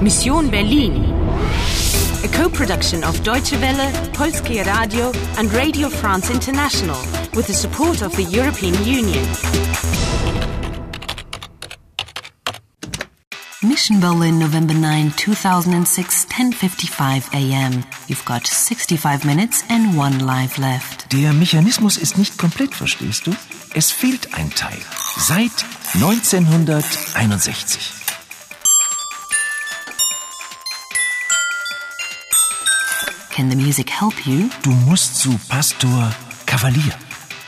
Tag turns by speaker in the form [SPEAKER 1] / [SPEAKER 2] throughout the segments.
[SPEAKER 1] Mission Berlin. A co-production of Deutsche Welle, Polskie Radio and Radio France International with the support of the European Union.
[SPEAKER 2] Mission Berlin, November 9, 2006, 10.55 a.m. You've got 65 minutes and one life left.
[SPEAKER 3] Der Mechanismus ist nicht komplett, verstehst du? Es fehlt ein Teil. Seit 1961.
[SPEAKER 2] Can the music help you?
[SPEAKER 3] Du musst zu Pastor Kavalier.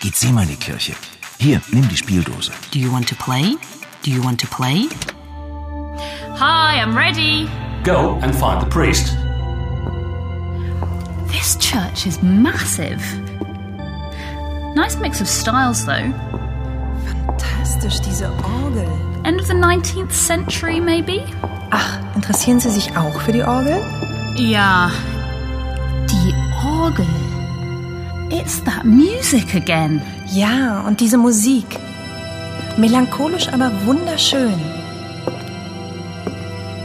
[SPEAKER 3] Geht sie mal in die Kirche. Hier, nimm die Spieldose.
[SPEAKER 2] Do you want to play? Do you want to play?
[SPEAKER 4] Hi, I'm ready.
[SPEAKER 5] Go and find the priest.
[SPEAKER 4] This church is massive. Nice mix of styles, though.
[SPEAKER 6] Fantastisch, diese Orgel.
[SPEAKER 4] End of the 19th century, maybe?
[SPEAKER 6] Ach, interessieren Sie sich auch für die Orgel?
[SPEAKER 4] Yeah. Die Orgel. It's that music again.
[SPEAKER 6] Ja, und diese Musik. Melancholisch, aber wunderschön.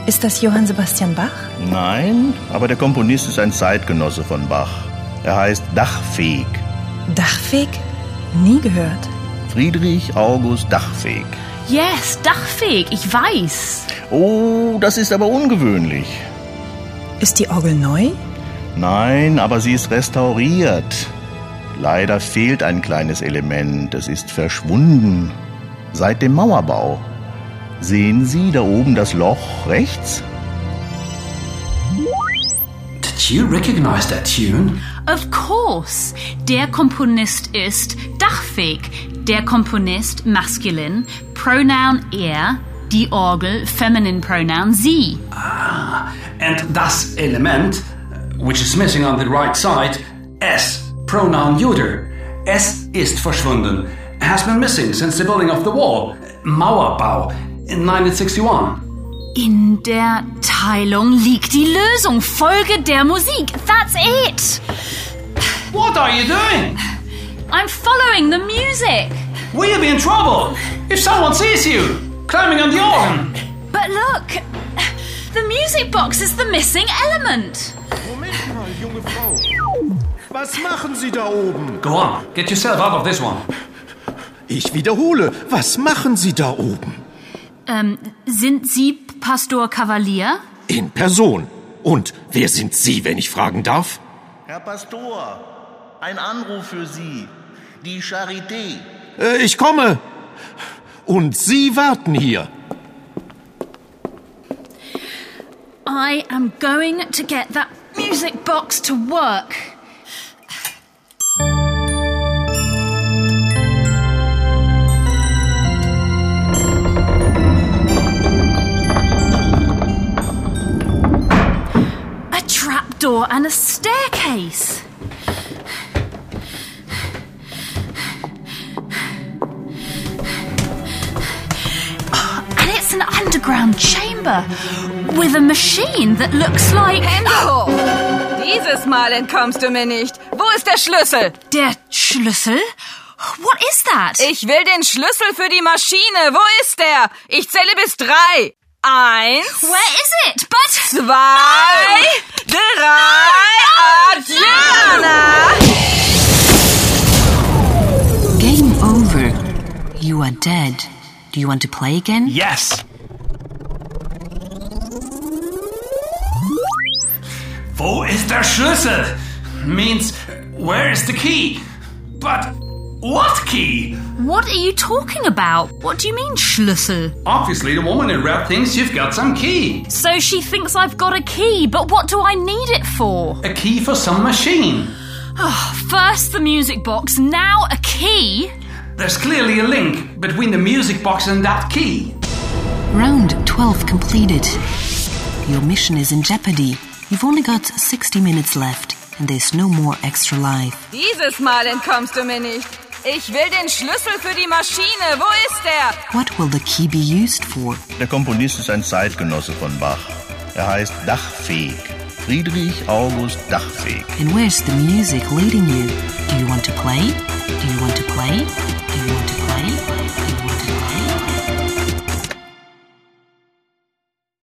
[SPEAKER 6] Ist das Johann Sebastian Bach?
[SPEAKER 7] Nein, aber der Komponist ist ein Zeitgenosse von Bach. Er heißt Dachfeg.
[SPEAKER 6] Dachfeg? Nie gehört.
[SPEAKER 7] Friedrich August Dachfeg.
[SPEAKER 4] Yes, Dachfeg, ich weiß.
[SPEAKER 7] Oh, das ist aber ungewöhnlich.
[SPEAKER 6] Ist die Orgel neu?
[SPEAKER 7] Nein, aber sie ist restauriert. Leider fehlt ein kleines Element. Es ist verschwunden. Seit dem Mauerbau. Sehen Sie da oben das Loch rechts?
[SPEAKER 5] Did you recognize that tune?
[SPEAKER 4] Of course. Der Komponist ist Dachfeg. Der Komponist masculine, pronoun er, die Orgel feminine pronoun sie.
[SPEAKER 5] And das element, uh, which is missing on the right side, S, pronoun Juder. S ist verschwunden. Has been missing since the building of the wall, Mauerbau, in 1961.
[SPEAKER 4] In der Teilung liegt die Lösung. Folge der Musik. That's it.
[SPEAKER 5] What are you doing?
[SPEAKER 4] I'm following the music.
[SPEAKER 5] We'll be in trouble if someone sees you climbing on the organ.
[SPEAKER 4] But look, the music box is the missing element.
[SPEAKER 8] Moment mal, junge Frau. Was machen Sie da oben?
[SPEAKER 5] Go on, get yourself out of this one.
[SPEAKER 8] Ich wiederhole, was machen Sie da oben?
[SPEAKER 4] Ähm, sind Sie Pastor Kavalier?
[SPEAKER 8] In Person. Und wer sind Sie, wenn ich fragen darf?
[SPEAKER 7] Herr Pastor, ein Anruf für Sie. Die Charité.
[SPEAKER 8] Äh, ich komme. Und Sie warten hier.
[SPEAKER 4] I am going to get that music box to work. A trapdoor and a staircase. And it's an underground chamber with a machine that looks like.
[SPEAKER 9] Endo! Dieses Mal entkommst du mir nicht. Wo ist der Schlüssel?
[SPEAKER 4] Der Schlüssel? What is that?
[SPEAKER 9] Ich will den Schlüssel für die Maschine. Wo ist der? Ich zähle bis drei. Eins,
[SPEAKER 4] Where is it? But
[SPEAKER 9] zwei, drei. Adriana!
[SPEAKER 2] Game over. You are dead. Do you want to play again?
[SPEAKER 5] Yes. Wo ist der Schlüssel? Means, where is the key? But what key?
[SPEAKER 4] what are you talking about? What do you mean Schlüssel?
[SPEAKER 5] Obviously, the woman in red thinks you've got some key.
[SPEAKER 4] So she thinks I've got a key, but what do I need it for? Oh,
[SPEAKER 5] A key for some machine.
[SPEAKER 4] First the music box, now a key.
[SPEAKER 5] There's clearly a link between the music box and that key.
[SPEAKER 2] Round 12 completed. Your mission is in jeopardy. You've only got 60 minutes left, and there's no more extra life.
[SPEAKER 9] Dieses Mal entkommst du mir nicht. Ich will den Schlüssel für die Maschine. Wo ist der?
[SPEAKER 2] What will the key be used for?
[SPEAKER 7] Der Komponist ist ein Zeitgenosse von Bach. Er heißt Dachfeg. Friedrich August Dachfeg.
[SPEAKER 2] And where's the music leading you? Do you want to play? Do you want to play? Do you want to play?